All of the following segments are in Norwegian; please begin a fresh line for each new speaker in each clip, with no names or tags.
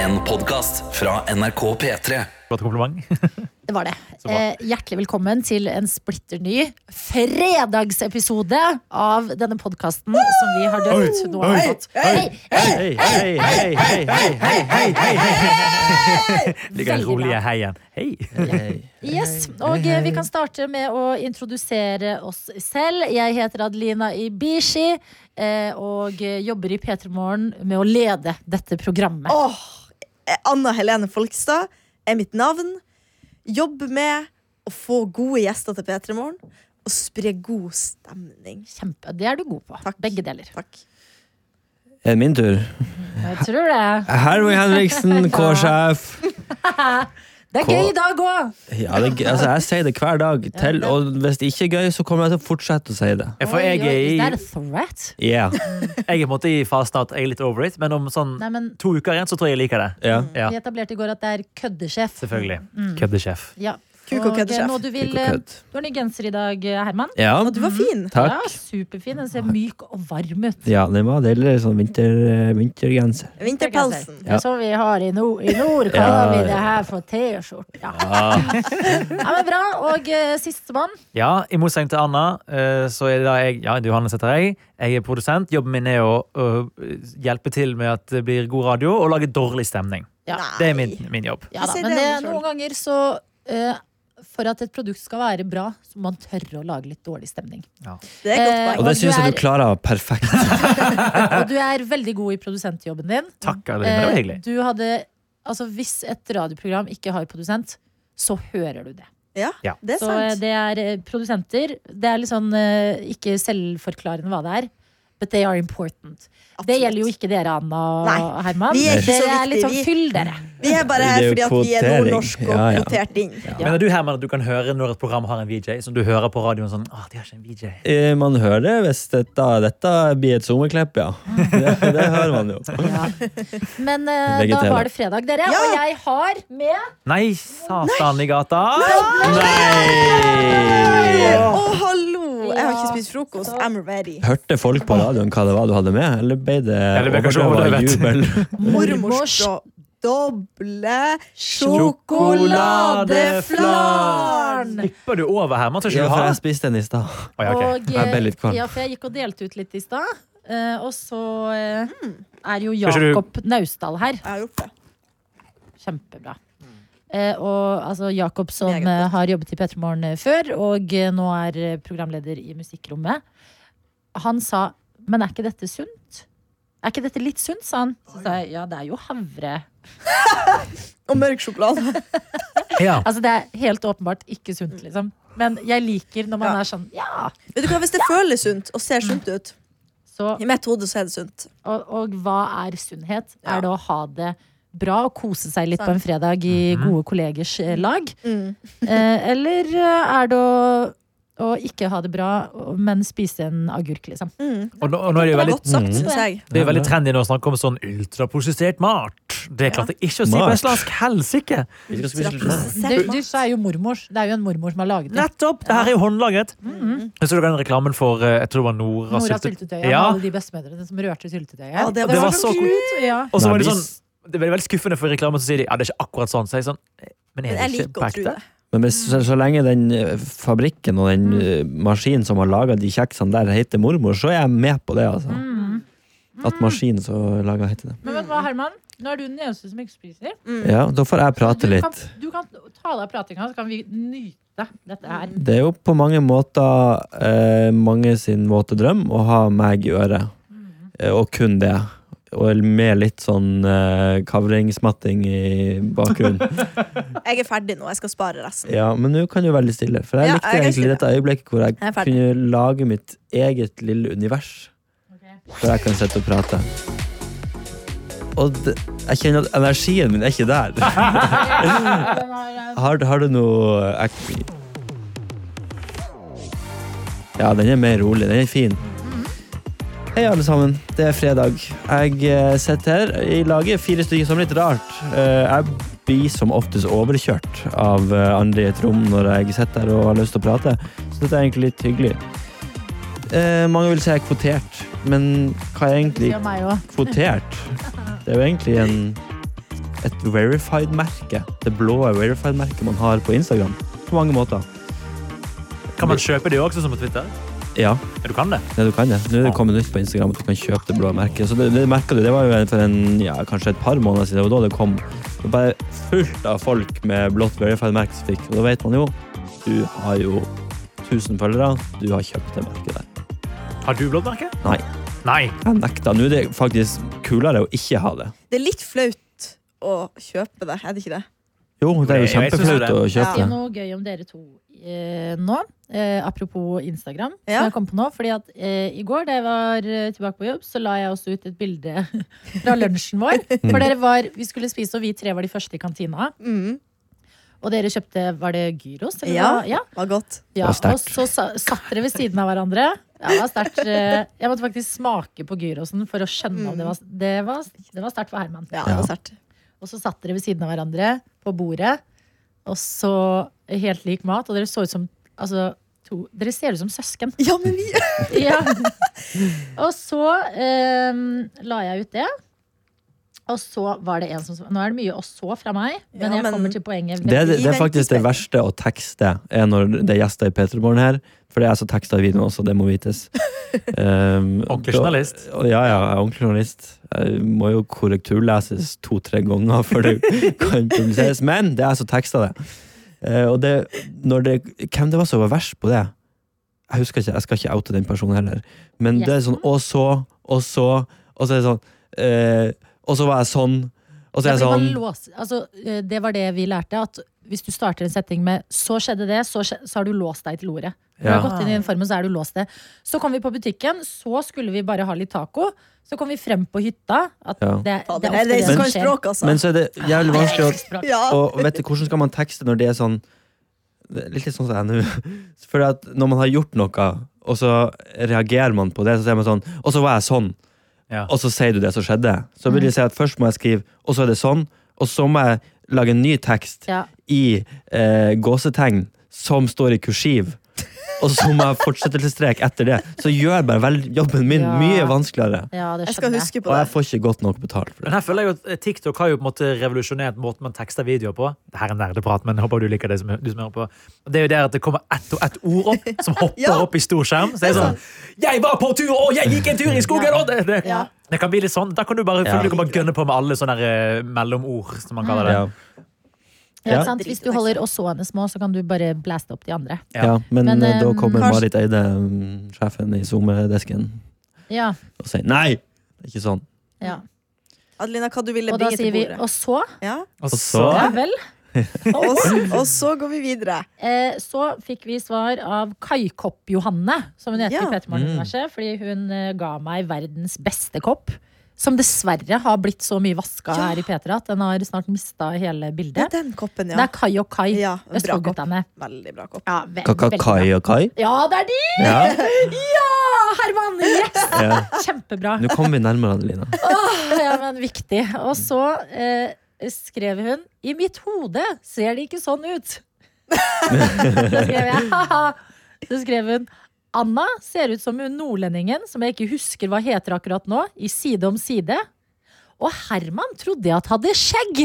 En podcast fra NRK P3
Flott kompliment.
Det var det.
Så bra.
Eh, hjertelig velkommen til en splitter ny fredagsepisode av denne podkasten som vi har døpt. Nå har vi fått
Hei, hei, hei, hei, hei, hei, hei, hei, hei. Liker den
Veldig bra.
rolige heien. Hei.
Yes, og eh, vi kan starte med å introdusere oss selv. Jeg heter Adelina Ibishi eh, og eh, jobber i P3 Morgen med å lede dette programmet.
Åh, eh, Anna Helene Folkstad er mitt navn. Jobber med å få gode gjester til P3 Morgen og spre god stemning.
Kjempe, Det er du god på.
Takk.
Begge deler.
Takk.
Er det Eh, min tur?
Jeg tror det.
Hallo, Henriksen, K-sjef.
Det er gøy i dag òg!
Ja, det, er gøy. altså, jeg sier det hver dag, til, og hvis det ikke er gøy, så kommer jeg til å fortsette å si det.
For jeg er i,
Det er a threat.
Yeah.
jeg er på en måte i fasen at jeg er litt over it, men om sånn
Nei, men
to uker igjen så tror jeg jeg liker det.
Ja.
Ja, Mm.
vi etablerte i går at det er køddesjef.
selvfølgelig. Køddesjef.
Ja.
Kuk og
eh,
køddesjef.
nå Du, vil,
Kuk og
eh,
kødd.
du har ny genser i dag, eh, Herman.
ja.
Og du var fin.
Mhm. Takk.
Ja, superfin. Den ser myk og varm ut.
Ja, det var deilig sånn vinter, eh, vintergenser.
Vinterpelsen.
Det er sånn vi har i nord. I nord kaller vi det her for T-skjorte. Ja. ja, men bra. Og uh, sistemann.
Ja, i motsetning til Anna, eh, så er det da jeg, ja, Johannes heter jeg, jeg er produsent. Jobben min er å øh, hjelpe til med at det blir god radio og lage dårlig stemning.
Ja.
Det er min, min jobb.
Ja, da.
Jeg ser
Men
det
det,
selv.
noen ganger så eh, For at et produkt skal være bra, så må man tørre å lage litt dårlig stemning.
Det er et
Eh,
godt
Og
poeng.
det syns jeg
Du
du
er-
klarer perfekt.
Og du er veldig god i produsentjobben din.
Takk, Adeline. Det var
Eh,
hyggelig.
du hadde Altså, hvis et radioprogram ikke har produsent, så hører du det.
Ja,
Ja.
det er
Så eh,
sant.
det er eh, produsenter. Det er litt sånn eh, ikke selvforklarende hva det er. But they are important. Det
Absolutt.
gjelder jo ikke dere, Anna og
Nei,
Herman.
vi er ikke så
dere er litt sånn
viktige, vi.
fyll, dere.
Vi er bare
Det
her
er jo
fordi at vi er
kvotering.
nordnorsk og
Ja, ja.
kvotert inn.
Mener du Herman, at du kan høre når et program har en VJ? Som du hører på radioen sånn ah, de har ikke en VJ.
Eh, Man hører det hvis dette, dette blir et sommerklipp, ja. Det, det hører man jo.
Men eh, da
Vegetarier.
var det fredag, dere.
Ja.
Og jeg har med
Nei, satan i gata!
Å,
Nei!
hallo! Jeg har
Ja.
ikke spist frokost. I'm ready.
Hørte folk på radioen hva det var du hadde med, eller ble det
det ble kanskje
overdrevet
overdrevet.
jubel?
Mormors do- doble
sjokoladeflarn!
Hopper du over, Herman? Tror ikke
Ja,
du
for
har
jeg
det?
spiste den i stad.
Å, ja, ok.
Og, eh,
Jeg ble litt kvalm.
ja, for jeg gikk og delte ut litt i stad. Eh, og så eh,
Mm.
er jo
Kanskje du-
Jakob Naustdal her.
Jeg har gjort det.
Kjempebra. Eh, og altså, Jakob som
Mm. Meget
eh, har jobbet i P3 Morgen eh, før, og eh, nå er eh, programleder i Musikkrommet, han sa Men er ikke dette sunt? Er ikke dette litt sunt, sa han. Så sa jeg ja, det er jo havre.
Og mørk sjokolade.
Ja.
Altså, det er helt åpenbart ikke sunt, liksom. Men jeg liker når man
Mm. Ja.
er sånn ja.
Vet du hva, Hvis det føles sunt og ser sunt ut
Så,
I mitt hode så er det sunt.
og, og hva er sunnhet?
Ja.
Er det å ha det bra og kose seg litt
Sant. Mm.
på en fredag
Mhm.
i gode kollegers eh, lag? Eh, eller eh, er det å, å ikke ha det bra, men spise en agurk, liksom?
Mm.
Og, nå, og nå er det jo
Det er
veldig
godt sagt,
Mm.
syns jeg.
Det er jo veldig trendy nå å snakke om sånn ultraprosessert mat. Det klarte jeg ikke å si på
Mat.
en slags helsike.
Du, du sa jo mormors. Det er jo en mormor som har laget det.
Nettopp! Det her er jo håndlaget.
Mm-hmm.
Jeg så den reklamen for eh, jeg tror det var Nora,
Nora
sylte-
syltetøy.
Ja.
Alle de bestemødrene som rørte syltetøyet.
Ja,
Det
det
var
var
så
så
kul.
kult.
Ja.
Og så
Nei,
var det
vi
sånn Det er veldig, veldig skuffende for reklamen, så sier de ja, det er ikke akkurat sånn. Så jeg er sånn Men er
Men
det
jeg
ikke
liker
på
å tro
ekte?
det.
Men hvis, så, så lenge den eh, fabrikken og den eh, maskinen som har laga de kjeksene der, heter mormor, så er jeg med på det. altså. At maskinen som laga heter det.
Men vet du
Mm.
hva, Herman? Nå er du den eneste som ikke spiser.
Ja, Da får jeg
du,
prate litt.
kan, du kan ta deg av pratinga, så kan vi nyte dette her.
Det er jo på mange måter eh, mange sin våte drøm å ha meg i øret, eh, og kun det. Og med litt sånn eh, kavringsmatting i bakgrunnen.
Jeg er ferdig nå. Jeg skal spare resten.
Ja, Men nå kan du være litt stille, for jeg
Ja,
likte
jeg er
egentlig
stille.
dette øyeblikket hvor jeg
Jeg er ferdig.
kunne lage mitt eget lille univers. Hvor jeg kan sitte og prate. Og det, jeg kjenner at energien min er ikke der.
Den har, eh,
Har, har du noe eh, ek- Ja, den er mer rolig. Den er fin. Hei, alle sammen. Det er fredag. Jeg eh, sitter her i laget, fire stykker, som litt rart. Eh, Jeg blir som oftest overkjørt av eh, andre i et rom når jeg sitter her og har lyst til å prate, så dette er egentlig litt hyggelig. Eh, Mange vil si jeg er kvotert, men hva er egentlig
sier meg også.
kvotert. Det er jo egentlig en et verified-merke. Det blå verified-merket man har på Instagram. På mange måter.
Kan man kjøpe det også som på Twitter?
Ja,
Ja, du kan det.
ja du kan det. Nå er det kommet nytt på Instagram at du kan kjøpe det blå merket. Så det, det merket du, det var jo for en, ja, kanskje et par måneder siden. Det var da det kom. Det var bare fullt av folk med blått verified-merke som fikk. Og da vet man jo, du har jo 1000 følgere. Du har kjøpt det merket der.
Har du blått merke?
Nei.
Nei.
Jeg nekta. Nå er det faktisk kulere å ikke ha det.
Det er litt flaut å kjøpe det, er det ikke det?
Jo, det er
Jeg-
jo
jeg synes
kjempeflaut
det.
å
Ja.
kjøpe
Si
det.
noe gøy om dere to eh, nå. Eh, apropos Instagram.
Ja.
Som jeg kom på nå, fordi at eh, I går da jeg var eh, tilbake på jobb, så la jeg også ut et bilde fra lunsjen vår. For dere var, Vi skulle spise, og vi tre var de første i kantina.
Mm,
Og dere kjøpte Var det gyros? eller
Ja.
hva? ja.
var godt.
Ja,
Det var
og så sa, satt dere ved siden av hverandre. Ja, det var sterkt. eh, Jeg måtte faktisk smake på gyrosen for å skjønne om det var Det var, det var sterkt for Herman.
Mm. Ja, det var sterkt.
Og så satt dere ved siden av hverandre på bordet, og så helt lik mat, og dere så ut som altså, to, Dere ser ut som søsken.
Ja, men vi
Ja. Og så eh, la jeg ut det. Og så var det en som Nå er det mye 'og så' fra meg, men
Ja,
jeg
men-
kommer til poenget.
Det, er- det,
Vi
det er
venter
faktisk det
spent.
verste å tekste er når det er gjester i P3 Morgen her. For det er jeg som tekster i videoen også, det må vites. Um,
Ordentlig
da-
journalist.
Ja, ja, jeg er ordentlig journalist. Jeg må jo korrekturleses to-tre ganger før det kan publiseres. Men det er jeg som tekster det. Eh, og det, når det Hvem det var som var verst på det? Jeg husker ikke, jeg skal ikke oute den personen heller. Men det er sånn Og så, og så, og så er det sånn eh, Og så var jeg sånn. Og så er
Ja,
jeg
fordi man
sånn
låser- altså, eh, det var det vi lærte. At hvis du starter en setning med 'så skjedde det', så, skje, så har du låst deg til ordet. Når du
Ja.
har gått inn i den formen, så er du låst det. Så kom vi på butikken, så skulle vi bare ha litt taco. Så kom vi frem på hytta. At
Ja.
det,
Fader,
det
det er de
er ofte
som
det
kan
som skjer.
språk, altså.
Men så er det jævlig vanskelig å
Språk.
ja.
Og vet du, hvordan skal man tekste når det er sånn det er Litt litt sånn som jeg er nå. Fordi at når man har gjort noe, og så reagerer man på det, så sier man sånn Og så var jeg sånn.
Ja.
Og så sier du det som skjedde. Så vil jeg si at først må jeg skrive, og så er det sånn. Og så må jeg lage en ny tekst
Ja.
i eh, gåsetegn som står i kursiv. Og så må jeg fortsettelsestrek etter det. Så gjør bare vel jobben min
Ja.
mye vanskeligere.
Ja, det
Jeg skal
skjønner jeg.
huske på
Og jeg
det.
får ikke godt nok betalt for det.
Men her føler jeg jo at eh, TikTok har jo på en måte revolusjonert måten man tekster videoer på. Det her er nerdeprat, men jeg håper du liker det som, du som hører på. Det er jo der at det kommer ett og ett ord opp, som hopper
Ja.
opp i stor skjerm. Så det er sånn Jeg var på tur, og jeg gikk en tur i skogen, og det, det.
Ja.
det kan bli litt sånn. Da kan du bare,
Ja.
du kan bare gønne på med alle sånne der, eh, mellomord, som man kaller det.
Ja.
Ja,
Ja.
ikke sant? Hvis du holder åsåene små, så kan du bare blaste opp de andre.
Ja.
Ja, men,
Men,
eh, da kommer
eh, kanskje-
Marit Eide, mm, sjefen i SoMe-desken,
Ja,
og sier nei! Det er ikke sånn.
ja.
Adelina, hva du ville
Og da
bringe
sier
til
vi
bordet?
'og så'?
Ja.
Og
Og
så
så-
Ja vel.
Og, så- og så går vi videre.
Eh, så fikk vi svar av Kaikopp-Johanne, som hun heter
Ja.
i
Mm.
Petermorgen-universet. Fordi hun eh, ga meg verdens beste kopp. Som dessverre har blitt så mye vaska
Ja.
her i P3 at den har snart mista hele
Det er
bildet.
den koppen,
Det
ja.
er Kai og Kai.
Ja, en bra
Østfoldguttene.
Veldig bra kopp.
Ja, ve- veldig bra.
Kakakai og Kai.
Ja, det er de!
Ja.
Ja, Herman! Yes!
Ja.
Kjempebra.
Nå kommer vi nærmere, Adelina.
Ja, men viktig. Og så eh, skrev hun I mitt hode ser det ikke sånn ut. Da skrev jeg haha. Så skrev hun Anna ser ut som hun nordlendingen som jeg ikke husker hva heter akkurat nå, i Side om side. Og Herman trodde jeg at hadde skjegg.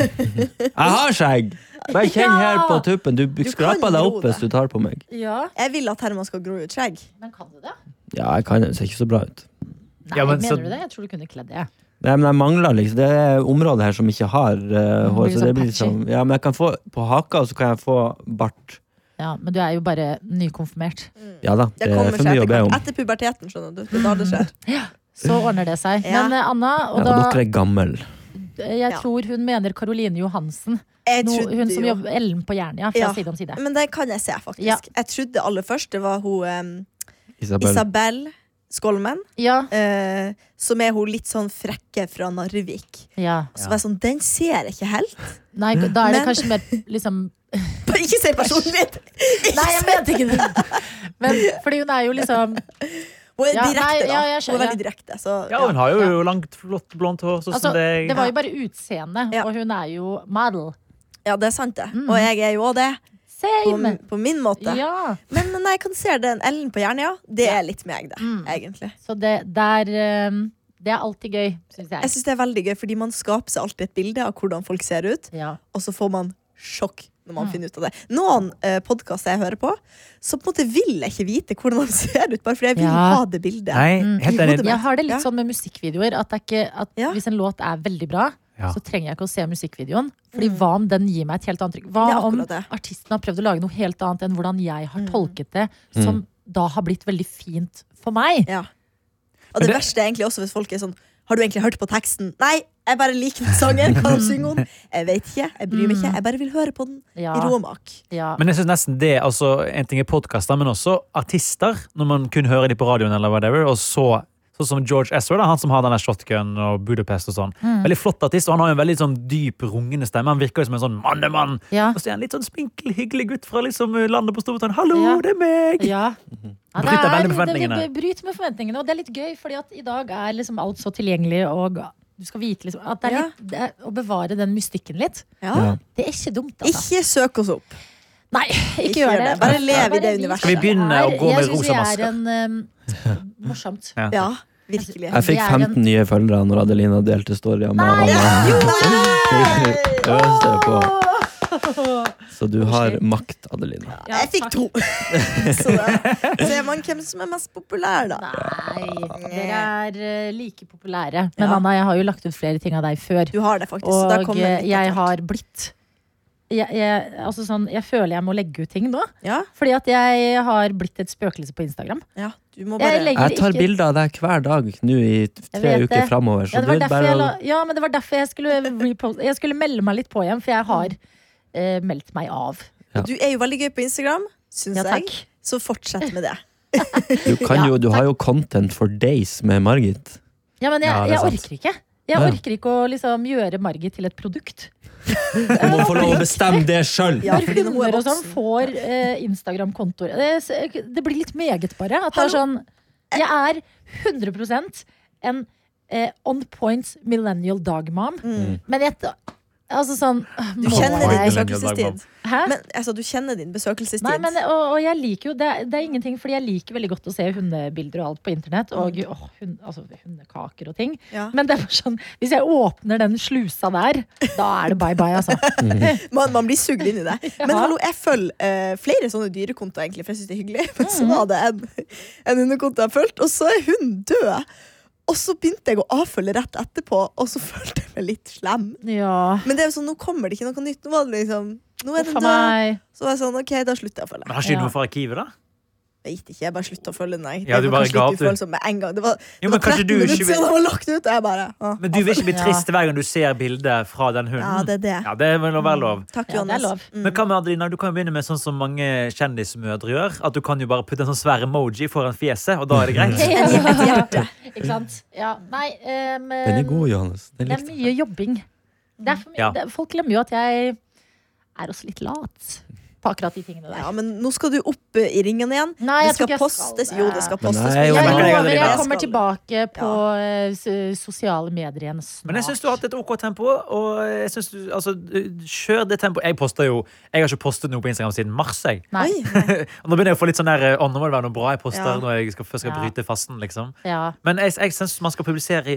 Jeg har skjegg! Bare kjenn her på tuppen. Du,
kan
skraper deg
gro
opp hvis du tar på meg.
Ja,
Jeg vil at Herman skal gro ut skjegg.
men kan du det?
Ja, jeg kan det. Det ser ikke så bra ut.
Nei,
Ja, men
mener
så-
du det? Jeg tror du kunne kledd det.
Nei, men jeg mangler liksom Det er områder her som ikke har eh, hår.
Blir
Så det
sånn
blir liksom, ja, men jeg kan få på haka, og så kan jeg få bart.
Ja, Men du er jo bare nykonfirmert.
Ja da,
Det
det er
kommer
Eh, for
seg
mye
etter,
å be
hvert.
om.
etter puberteten, skjønner du. Det er da det skjer.
Så ordner det seg.
Ja.
Men eh, Anna,
Ja,
og da eh,
dere er gamle.
Jeg
Ja.
tror hun mener Caroline Johansen.
Jeg
No,
trodde
hun som
jo-
jobber Ellen på Jernia, fra
Ja.
side om side.
Men det kan jeg se, faktisk.
Ja.
Jeg trodde aller først det var hun em,
Isabel.
Isabel Skolmen,
Ja,
eh, som er hun litt sånn frekke fra Narvik.
ja.
Så var jeg sånn, den ser jeg ikke helt.
Nei, da er det
Men-
kanskje mer liksom
Ikke si personen min!
Nei, jeg mente ikke det! Men, fordi hun er jo liksom
Hun er
Ja,
direkte,
nei,
da.
ja, jeg
hun er
skjønner.
veldig direkte. Så,
Ja, hun har jo langt, flott, blondt hår, sånn
altså,
som deg.
Det var jo bare utseende,
Ja.
og hun er jo model.
ja, det er sant, det. Og jeg er jo òg det, på,
Same!
på min måte.
Mm. Ja.
Men
Mm.
når jeg kan se den Ellen på Jernia, det er litt meg, det. Egentlig.
Så det der eh, Det er alltid gøy, syns
Jeg
jeg.
synes det er veldig gøy, fordi man skaper seg alltid et bilde av hvordan folk ser ut,
Ja.
og så får man sjokk når man finner ut av det. Noen eh, podkaster jeg hører på, så på en måte vil jeg ikke vite hvordan de ser ut, bare fordi jeg vil
Ja.
ha det bildet.
Nei, helt enig.
Mm.
Jeg har det
Ja.
litt sånn med musikkvideoer. At, det er ikke, at
Ja.
hvis en låt er veldig bra,
Ja.
så trenger jeg ikke å se musikkvideoen. Fordi hva om den gir meg et helt annet trykk? Hva
Mm. Det er
om
akkurat det. Mm.
artisten har prøvd å lage noe helt annet enn hvordan jeg har tolket det,
Mm.
som da har blitt veldig fint for meg?
Ja. Og
Men
det,
det-
verste er egentlig også hvis folk er sånn Har du egentlig hørt på teksten? Nei, jeg bare liker den sangen. Hva de synger om? Jeg vet ikke. Jeg bryr meg ikke. Jeg bare vil høre på den
Ja.
i ro og mak.
Ja.
Men jeg synes nesten det, altså En ting er podkaster, men også artister. Når man kun hører de på radioen, eller whatever. Og så, sånn som George Ezra, da, han som har denne shotgun og Budapest og sånn.
Mm.
Veldig flott artist, og han har jo en veldig sånn dyp, rungende stemme. Han virker jo som en sånn mannemann.
Ja.
Og så er han litt sånn spinkel, hyggelig gutt fra liksom landet på Storbritannia. Hallo,
Ja.
det er meg!
Ja. Ja, det
Bryter
er,
veldig med
det, det
forventningene.
bryter med forventningene, og det er litt gøy, fordi at i dag er liksom alt så tilgjengelig, og du skal vite liksom at det er
Ja.
litt, det er, Å bevare den mystikken litt,
Ja.
Ja.
det er ikke dumt, altså.
Ikke søk oss opp.
Nei, ikke, gjør det.
Bare lev i det
vi
universet.
Skal vi begynne å
er-
gå med rosa
Jeg syns vi er en um, Morsomt.
Ja.
Ja, virkelig.
Jeg fikk
Det er en-
15 nye følgere når Adelina delte storya med
Nei!
Anna. Øste på. Så du har
Koselig.
makt, Adelina.
Ja,
jeg fikk
takk.
to. så da ser man hvem som er mest populær, da.
Nei, dere er eh, like populære. Men Anna, jeg har jo lagt ut flere ting av deg før.
Du har det, faktisk. så da
Og
kommer
eh,
litt etter
jeg
hvert.
har blitt jeg, jeg, altså sånn, jeg føler jeg må legge ut ting nå.
ja?
Fordi at jeg har blitt et spøkelse på Instagram.
ja, du må
Jeg
bare
legger
Jeg tar
ikke-
bilder av deg hver dag nå i tre
vet det.
uker framover.
Ja,
Så
det
du
var
er
derfor
bare
jeg,
å
la, ja, men det var derfor jeg skulle reposte. Jeg skulle melde meg litt på igjen, for jeg
Mm.
har eh, meldt meg av.
Du er jo veldig gøy på Instagram, syns
Ja,
jeg.
takk.
Så fortsett med det.
Du, kan
Ja,
jo, du har jo content for days med Margit.
Ja, men jeg,
Ja, det er
jeg
sant.
orker ikke.
Ja,
Jeg
ja.
orker ikke å liksom gjøre Margit til et produkt.
Du må få lov å bestemme det sjøl!
Ja,
Når
fordi når hun er
hunder og sånn
voksen.
får eh, Instagram-kontoer det, s- eh, det blir litt meget, bare. At det er
Hallo.
sånn Jeg er 100 en eh, on point millennial dog mom, men jeg Altså sånn øh,
Mm. Du
må
kjenner din
jeg-
det.
besøkelsestid.
Hæ?
Men, altså, du kjenner din besøkelsestid.
Nei, men, eh, og, og jeg liker jo det, er- det er ingenting, fordi jeg liker veldig godt å se hundebilder og alt på internett. Og
Mm.
åh, hun, altså, hundekaker og ting.
Ja.
Men det er bare sånn, hvis jeg åpner den slusa der, da er det bye bye, altså.
Man, man blir sugd inn i det. Men
Ja.
hallo, jeg følger eh, flere sånne dyrekontoer, egentlig, for jeg syns det er hyggelig. Men
Mm.
så var det en, en hundekonto jeg fulgte, og så er hun død. Og så begynte jeg å avfølge rett etterpå, og så følte jeg meg litt slem.
Ja.
Men det er jo sånn, nå kommer det ikke noe nytt. Nå, var det liksom, nå er
Huff a
den død.
meg.
Så var jeg sånn, ok, da slutter jeg å følge.
Men har ikke du
Ja.
noe fra arkivet, da?
Jeg vet ikke, jeg bare slutta å følge den. Jeg.
Ja, du
Det var
bare
kanskje
ga
litt
opp, du.
ufølsom med en gang. Det var,
Jo,
det
men
var
kanskje
13
du
minutter
ikke
siden
vil-
det var lagt ut, og jeg bare ah,
Men du vil ikke bli
Ja.
trist hver gang du ser bildet fra den
Ja,
hunden?
det er det.
Ja, det vil
Mm.
nå være lov.
Takk,
Ja, det er
Johannes. Mm.
lov.
Men hva med Adelina, du kan jo begynne med sånn som mange kjendismødre gjør. At du kan jo bare putte en sånn svær emoji foran fjeset, og da er det greit.
Ikke sant? Ja. Nei, eh, men
Den er god, Johannes. Den
det er
likte jeg.
mye jobbing. Det er for mye,
Ja.
det, folk glemmer jo at jeg er også litt lat på akkurat de tingene der.
Ja, men nå skal du opp eh, i ringen igjen.
Nei, jeg tror
det skal
ikke jeg skal
postes.
det.
Jo, det skal
Men
postes.
nei,
på
Jeg
jo, men-
Instagram.
det
lover, jeg kommer
skal det.
tilbake på eh, s- sosiale medier igjen snart.
Men jeg syns du har hatt et OK tempo. Og jeg synes du, altså, du- kjør det tempoet. Jeg poster jo Jeg har ikke postet noe på Instagram siden mars. Jeg.
Nei.
Oi, nei.
Og nå begynner jeg å få litt sånn der Å, nå må det være noe bra jeg poster
Ja.
når jeg skal, først skal
Ja.
bryte fasten, liksom.
Ja.
Men jeg, jeg syns man skal publisere i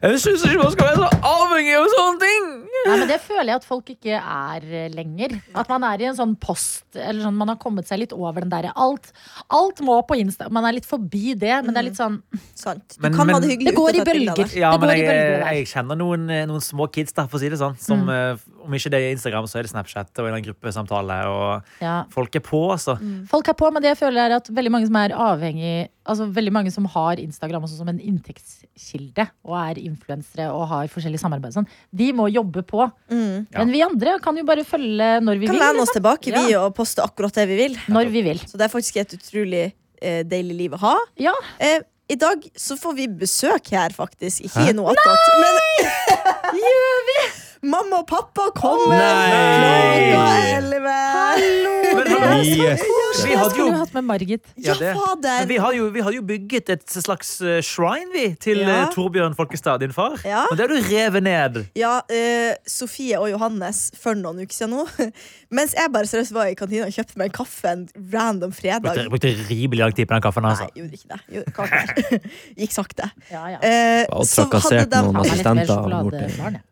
Jeg syns ikke man skal være så avhengig av sånne ting!
Nei, men Det føler jeg at folk ikke er eh, lenger. At man er i en sånn post Eller sånn, Man har kommet seg litt over den derre alt, alt må på Insta. Man er litt forbi det, men det er litt sånn
Sant. Du
Men-
kan ha
men-
det hyggelig
Det går
uten å
i
ta et bilde av
bølger.
Ja,
Det
men
går i
jeg, eh,
bølger Mm. der.
jeg kjenner noen, eh, noen små kids der, for å si det sånn. Som, eh, om ikke det er Instagram, så er det Snapchat og en eller annen gruppesamtale. Og
ja.
folk er på, altså.
Mm.
mm. Folk er på, men det jeg føler er at veldig mange som er avhengig Altså veldig mange som har Instagram også som en inntektskilde, og er influensere og har forskjellige samarbeid, og sånn, de må jobbe på.
Ja.
Men vi andre kan jo bare følge når vi
Kan
vil.
lene oss
liksom.
tilbake vi
Ja.
og poste akkurat det vi vil.
Når vi vil.
Så det er faktisk et utrolig eh, deilig liv å ha.
Ja.
Eh, I dag så får vi besøk her, faktisk. Ikke noe attåt. Men Gjør vi? mamma og pappa kommer
Nei.
klokka elleve!
Hallo!
Men hallo,
Yes.
vi
Jeg
hadde jo
skulle jo hatt med Margit.
Ja,
det. Men
fader!
vi hadde, jo, vi hadde jo bygget et slags eh, shrine vi, til
Ja.
eh, Torbjørn Folkestad, din far.
Ja.
Men det har du revet ned.
Ja, eh, Sofie og Johannes for noen uker siden nå. Mens jeg bare seriøst var i kantina og kjøpte meg en kaffe en random fredag.
Brukte, brukte rimelig lang tid på den kaffen.
Nei,
Altså.
gjorde ikke det. Gjorde kaffe. Gikk sakte.
Ja, ja.
Eh,
Og
så hadde
trakassert
de
Han
noen
er litt mer
assistenter. borti.
sjokoladebarn. jeg.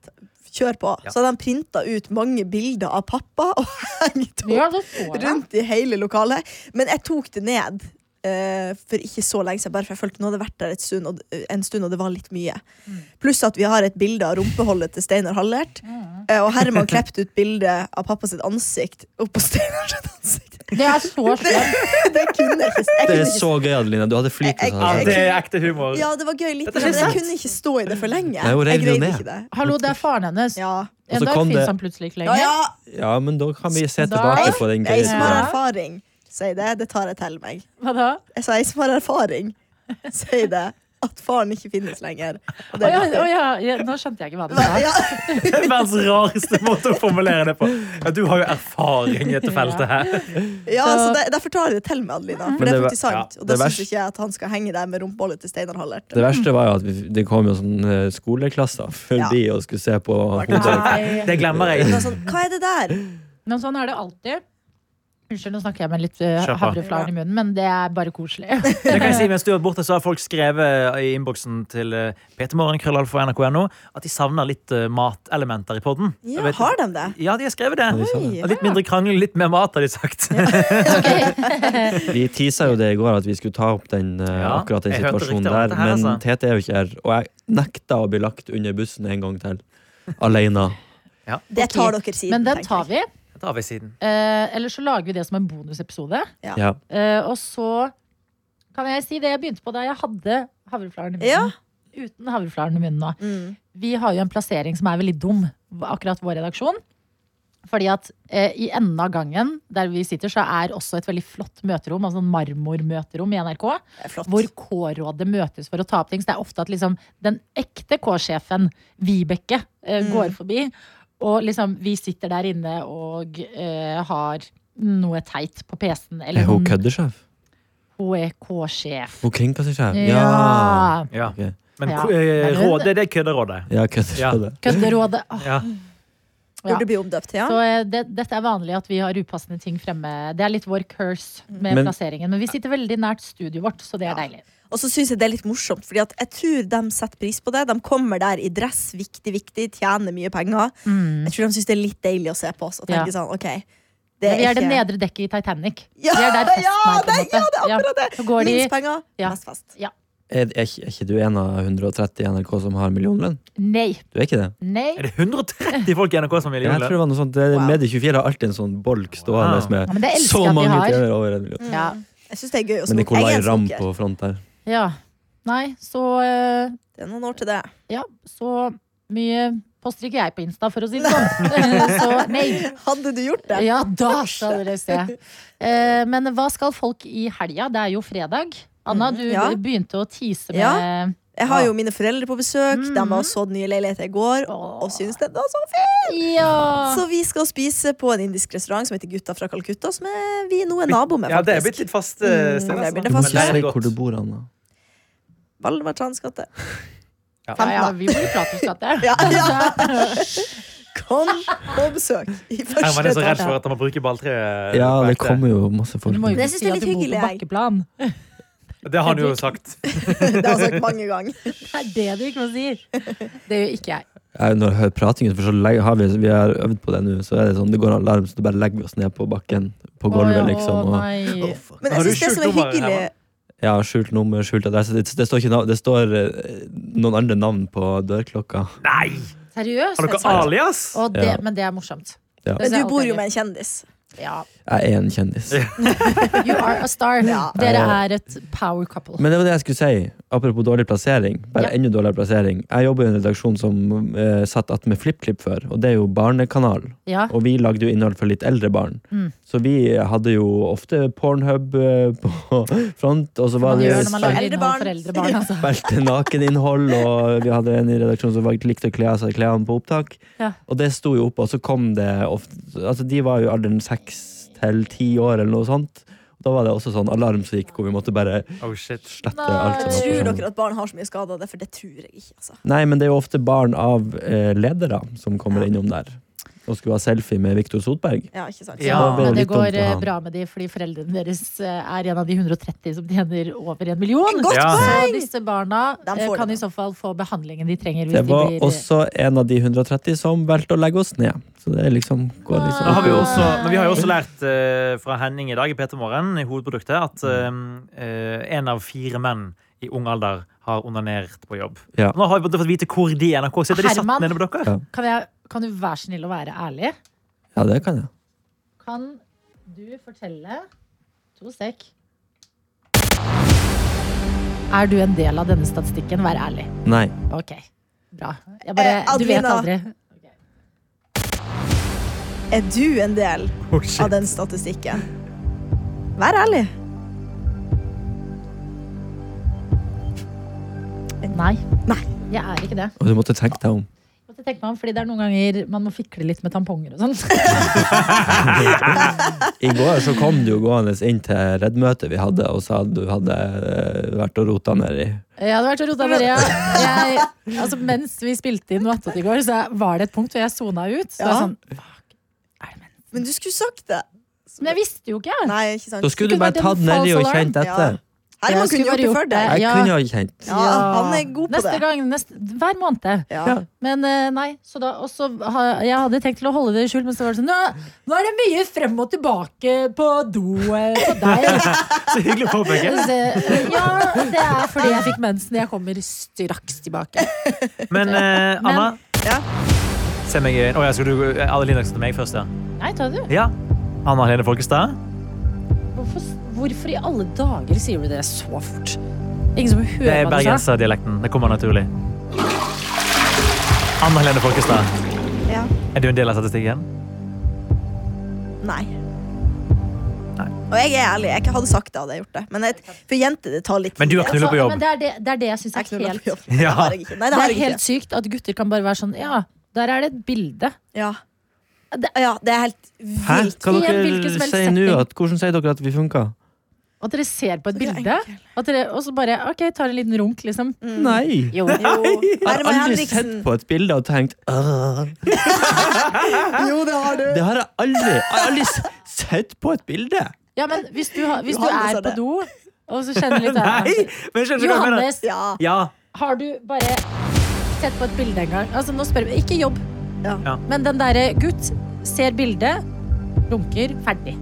Kjør på.
Ja.
Så hadde de printa ut mange bilder av pappa og hengt opp
Ja, da så jeg.
rundt i hele lokalet. Men jeg tok det ned eh, for ikke så lenge siden, bare for jeg følte nå hadde jeg vært der et stund, og, en stund, og det var litt mye. Pluss at vi har et bilde av rumpeholdet til Steinar Hallert. eh, Og Herman klippet ut bilde av pappa sitt ansikt oppå Steinar sitt ansikt.
Det er så slemt.
Det kunne jeg ikke. Jeg
Det er
kunne ikke
så gøy, Adelina. Du hadde flirt. hvis du
Ja,
hadde
det
det.
er ekte humor.
ja, det var gøy litt,
Dette er
men jeg
sant.
kunne ikke stå i det for lenge.
Nei,
Jeg
hun rev det jo
greide
ned.
ikke det.
Hallo, det er faren hennes.
Ja.
Og så
En dag
kom
finnes
det-
han plutselig ikke
Ja,
lenger.
ja.
Ja, men da kan vi se
Da-
tilbake på den
Jeg
gøye
som har
tida.
Ja.
erfaring, sier det. Det tar jeg til meg.
Hva da?
Jeg sa Altså, jeg som har erfaring, sier det. At faren ikke finnes lenger.
Å
Og det
ja,
er
å
derfor.
ja, ja. Nå skjønte jeg ikke hva det var.
ja.
Det er verdens rareste måte å formulere det på. Ja, du har jo erfaring i dette feltet her.
ja, så det, Derfor tar jeg det til meg, Adelina.
Mm.
For
Men
det er
det var-
faktisk sant.
ja,
Og da
det var-
syns ikke jeg at han skal henge der med rumpeholdet til Steinar Hallert.
Det verste var jo at vi, det kom jo sånne skoleklasser før
Ja.
de og skulle se på hodet.
Nei.
Det glemmer
Det
jeg.
var sånn, Hva er det der?
Men sånn er det alltid. Unnskyld, nå snakker jeg med litt eh,
Kjør på.
havreflaren i munnen, men det er bare koselig.
Det kan jeg si mens du har vært borte, så har folk skrevet i innboksen til eh, ptmorgen.krøllalfa.nrk.no at de savner litt eh, matelementer i podden. Jeg
Ja,
vet-
har de det?
Ja, de har skrevet det.
de sa
Oi.
Litt mindre krangling, litt mer mat, har de sagt.
Vi teasa jo det i går, at vi skulle ta opp den, eh,
Ja,
akkurat den
jeg hørte rykter om
situasjonen der.
dette her,
Men
altså.
Tete er jo ikke her, og jeg nekta å bli lagt under bussen en gang til. Alene.
Det tar dere siden.
Men den
tenker
tar
jeg.
vi.
Det tar vi siden.
Eh, eller så lager vi det som en bonusepisode.
Ja.
Eh, og så kan jeg si det jeg begynte på da jeg hadde havreflaren i munnen.
Ja.
Uten havreflaren i munnen nå.
Mm.
Vi har jo en plassering som er veldig dum, akkurat vår redaksjon. Fordi at eh, i enden av gangen der vi sitter, så er også et veldig flott møterom, altså en marmormøterom i NRK,
Det er Flott.
hvor K-rådet møtes for å ta opp ting. Så det er ofte at liksom den ekte K-sjefen, Vibeke, eh, går forbi. Og liksom, vi sitter der inne og eh, har noe teit på PC-en.
Er
Eller
hun
hun
køddesjef?
er K-sjef.
Hun kringkastersjef? Ja!
Ja.
Ja.
Ok.
Men
Ja.
ko- eh, rådet, det er kødderådet.
Ja, kødder.
Kødderådet. Åh,
Ja.
Burde bli omdøpt, ja.
Så eh, det, dette er vanlig at vi har upassende ting fremme. Det er litt vår curse
Mm.
med
Men-
plasseringen. Men vi sitter veldig nært studioet vårt, så det er deilig.
Og så syns jeg det er litt morsomt, Fordi at jeg tror de setter pris på det. De kommer der i dress, viktig, viktig, tjener mye penger.
Mm.
Jeg tror de syns det er litt deilig å se på oss og tenke
Ja.
sånn, OK. Det
Men vi er det
ikke-
nedre dekket i Titanic.
Ja,
vi er der festen
ja,
er, på en måte.
det- ja, det er akkurat det.
Så går de
Minst penger,
Ja.
mest fest.
Er, er, ikke- er ikke du en av 130 i NRK som har millionlønn?
Nei,
Du er ikke det?
nei.
Er det 130 folk i NRK som vil
Ja, Jeg
gjøre
tror det var noe sånt. Det,
Wow.
Medie24 har alltid en sånn bolk stående
Wow.
med
Ja, men det elsker
så
jeg at de
mange
har.
utøvere over en million.
Ja.
Jeg syns det er gøy å snoke. Jeg
Men Nicolay
er en
Ramm
snoker.
på front der.
ja. Nei, så eh,
Det er noen år til det.
Ja, så mye poster ikke jeg på Insta, for å si det sånn. så nei.
Hadde du gjort det?
Ja, da skal dere se. Eh, men hva skal folk i helga? Det er jo fredag. Anna, du
Mm. ja.
begynte å tease med
Ja. Jeg har jo mine foreldre på besøk. De var og så den nye leiligheten i
Mm.
går
Åh.
og syns det var så fint.
Ja.
Så vi skal spise på en indisk restaurant som heter Gutta fra Calcutta, som er vi nå er nabo med,
Ja, det er blitt
faktisk.
litt fast eh, sted.
Mm, det er blitt
Du
Det
må
fast-
si
fascinerer
hvor du bor, Anna.
Valvartans gate.
ja, ja, vi bor i Platonsgata.
Ja, ja. Kom på besøk i første
Herman er så redd
etasje.
for at han må bruke balltreet.
Ja, det
Merke.
kommer jo masse folk.
Du må jo ikke
Men jeg synes
si
det er
at du
litt
bor på
hyggelig, jeg.
bakkeplan.
Det har han jo sagt.
Det har jeg sagt mange ganger.
Det er det du ikke må si. Det gjør ikke jeg.
Jeg, når jeg hører pratingen, for så legger, har vi, vi har øvd på det nå, så er det sånn, det går alarm, så du bare legger oss ned på bakken, på
Å,
gulvet, liksom. Og,
nei.
Men
Har
jeg
du
syns
skjult
det som er
nummer,
hyggelig
Herman?
ja, skjult nummer, skjult adresse. Det, det står, ikke navn, det står eh, noen andre navn på dørklokka.
Nei!
Seriøst?
Har dere alias?
Og det,
Ja.
Men det er morsomt. Det
Ja.
ser
Men du bor
alltid
jo
gøy.
med en kjendis.
Ja.
Jeg er en kjendis.
You are a star.
Ja.
Dere
Ja.
er et power couple.
Men det var det jeg skulle si, apropos dårlig plassering. Bare
Ja.
enda dårligere plassering. Jeg jobber i en redaksjon som eh, satt attmed FlippKlipp før, og det er jo barnekanal.
Ja.
Og vi lagde jo innhold for litt eldre barn.
Mm.
Så vi hadde jo ofte Pornhub eh, på front, og så var
Man
det
gjør når man lager
Eldre
innhold for
barn.
eldre barn. Altså.
spilte nakeninnhold, og vi hadde en i redaksjonen som var- likte å kle av seg klærne på opptak.
Ja.
Og det sto jo oppe, og så kom det ofte Altså, de var jo i alderen seks til ti år, eller noe sånt. Da var det også sånn alarm som gikk, hvor vi måtte bare
Oh, shit.
slette
Nei.
alt som var på
Tror
skjermen.
dere at barn har så mye skader av det? For det tror jeg ikke. altså.
Nei, men det er jo ofte barn av eh, ledere som kommer innom der og skulle ha selfie med Viktor Sotberg.
Ja, ikke sant?
Ja.
det er jo
Men det
litt dumt å
går eh,
ha.
bra med de fordi foreldrene deres eh, er en av de 130 som tjener over en million.
Godt
Ja.
Så
poeng!
disse barna
De
eh,
får
kan
det.
i så fall få behandlingen de trenger. Hvis
Det var
de blir, eh,
også en av de 130 som valgte å legge oss ned. Så det er liksom, går liksom
Nå har vi, jo også, men vi har jo også lært eh, fra Henning i dag i Peter Morgen, i hovedproduktet, at eh, eh, en av fire menn i ung alder har onanert på jobb.
Ja.
Nå har vi fått vite hvor de er i NRK. Sitter de satt
Herman.
nede med dere?
Ja.
Kan, jeg, kan du være snill å være ærlig?
Ja, det kan jeg.
Kan du fortelle To sek. Er du en del av denne statistikken? Vær ærlig.
Nei.
Ok, bra. Jeg bare,
Eh,
du vet
Adelina.
aldri.
Er du en del
Oh,
av
shit.
den statistikken? Vær ærlig.
Nei.
Nei.
Jeg er ikke det.
Og du måtte tenke deg om.
Jeg måtte tenke meg om, fordi det er noen ganger man må fikle litt med tamponger og sånn.
I går så kom du jo gående inn til Redd-møtet vi hadde, og sa at du hadde eh, vært og rota nedi.
Jeg hadde vært og rota med det. Jeg, altså, mens vi spilte inn Noattot i går, så var det et punkt hvor jeg sona ut. Så
Ja.
jeg er sånn,
Men du skulle sagt det.
men jeg visste jo ikke.
Nei, ikke sant?
Da skulle
Skulle
du bare
vært en
tatt nedi og
false alarm.
kjent etter.
Jeg
Herman kunne gjort det
skulle bare
for deg.
gjort
Jeg
Ja.
kunne jo kjent.
Ja, han er god på
neste
det.
Gang, neste, hver måned.
Ja.
Men eh, nei, så da og så ha- Jeg hadde tenkt til å holde det i skjul, men så var det sånn Nå, nå er det mye frem og tilbake på do eh, på deg.
Så hyggelig å påpeke.
Så, eh, ja, det er fordi jeg fikk mensen. Jeg kommer straks tilbake.
Men eh, Anna,
Ja.
se meg i øynene. Å, ja, skal du Adeline skal til meg først, ja.
Nei, ta det.
ja. Anna Helene Folkestad.
Hvorfor, hvorfor i alle dager sier du det så fort? Ingen som
Det
hører
er
hva du sa?
bergenserdialekten. Det kommer naturlig. Anna Helene Folkestad,
Ja.
er du en del av statistikken?
Nei.
Nei.
Og jeg er ærlig. Jeg hadde sagt det hadde jeg gjort det. Men et, for jenter det tar litt
Men du har
tid.
knulla på
Altså,
jobb.
men det er det, det, er det jeg syns
Jeg
er
knuller
helt
på jobb.
Ja.
Det har jeg ikke. Nei,
Det
det har
er
jeg
helt
ikke.
sykt at gutter kan bare være sånn Ja, der er det et bilde.
Ja. ja, det er helt
Hæ?
vilt.
Hva
I en hvilken
dere
som helst
sier nå?
setting.
At, hvordan sier dere at vi funka?
At dere ser på et
Det er
bilde,
enkelt.
at dere, og så bare OK, tar en liten runk, liksom.
Nei.
Jo.
Jo,
Jeg har
Herman
aldri sett
Henriksen.
på et bilde og tenkt «Åh».
Jo, det har du.
Det har jeg aldri. Jeg har aldri s- sett på et bilde.
Ja, men hvis du, har- hvis du
Johannes
er
sa
på
det.
do, og så kjenner du litt
Nei! Men skjønner du hva jeg mener?
Johannes,
Ja.
Ja.
har du bare sett på et bilde en gang? Altså, nå spør vi. Ikke jobb,
Ja.
Ja.
men den derre gutt ser bildet, runker, ferdig.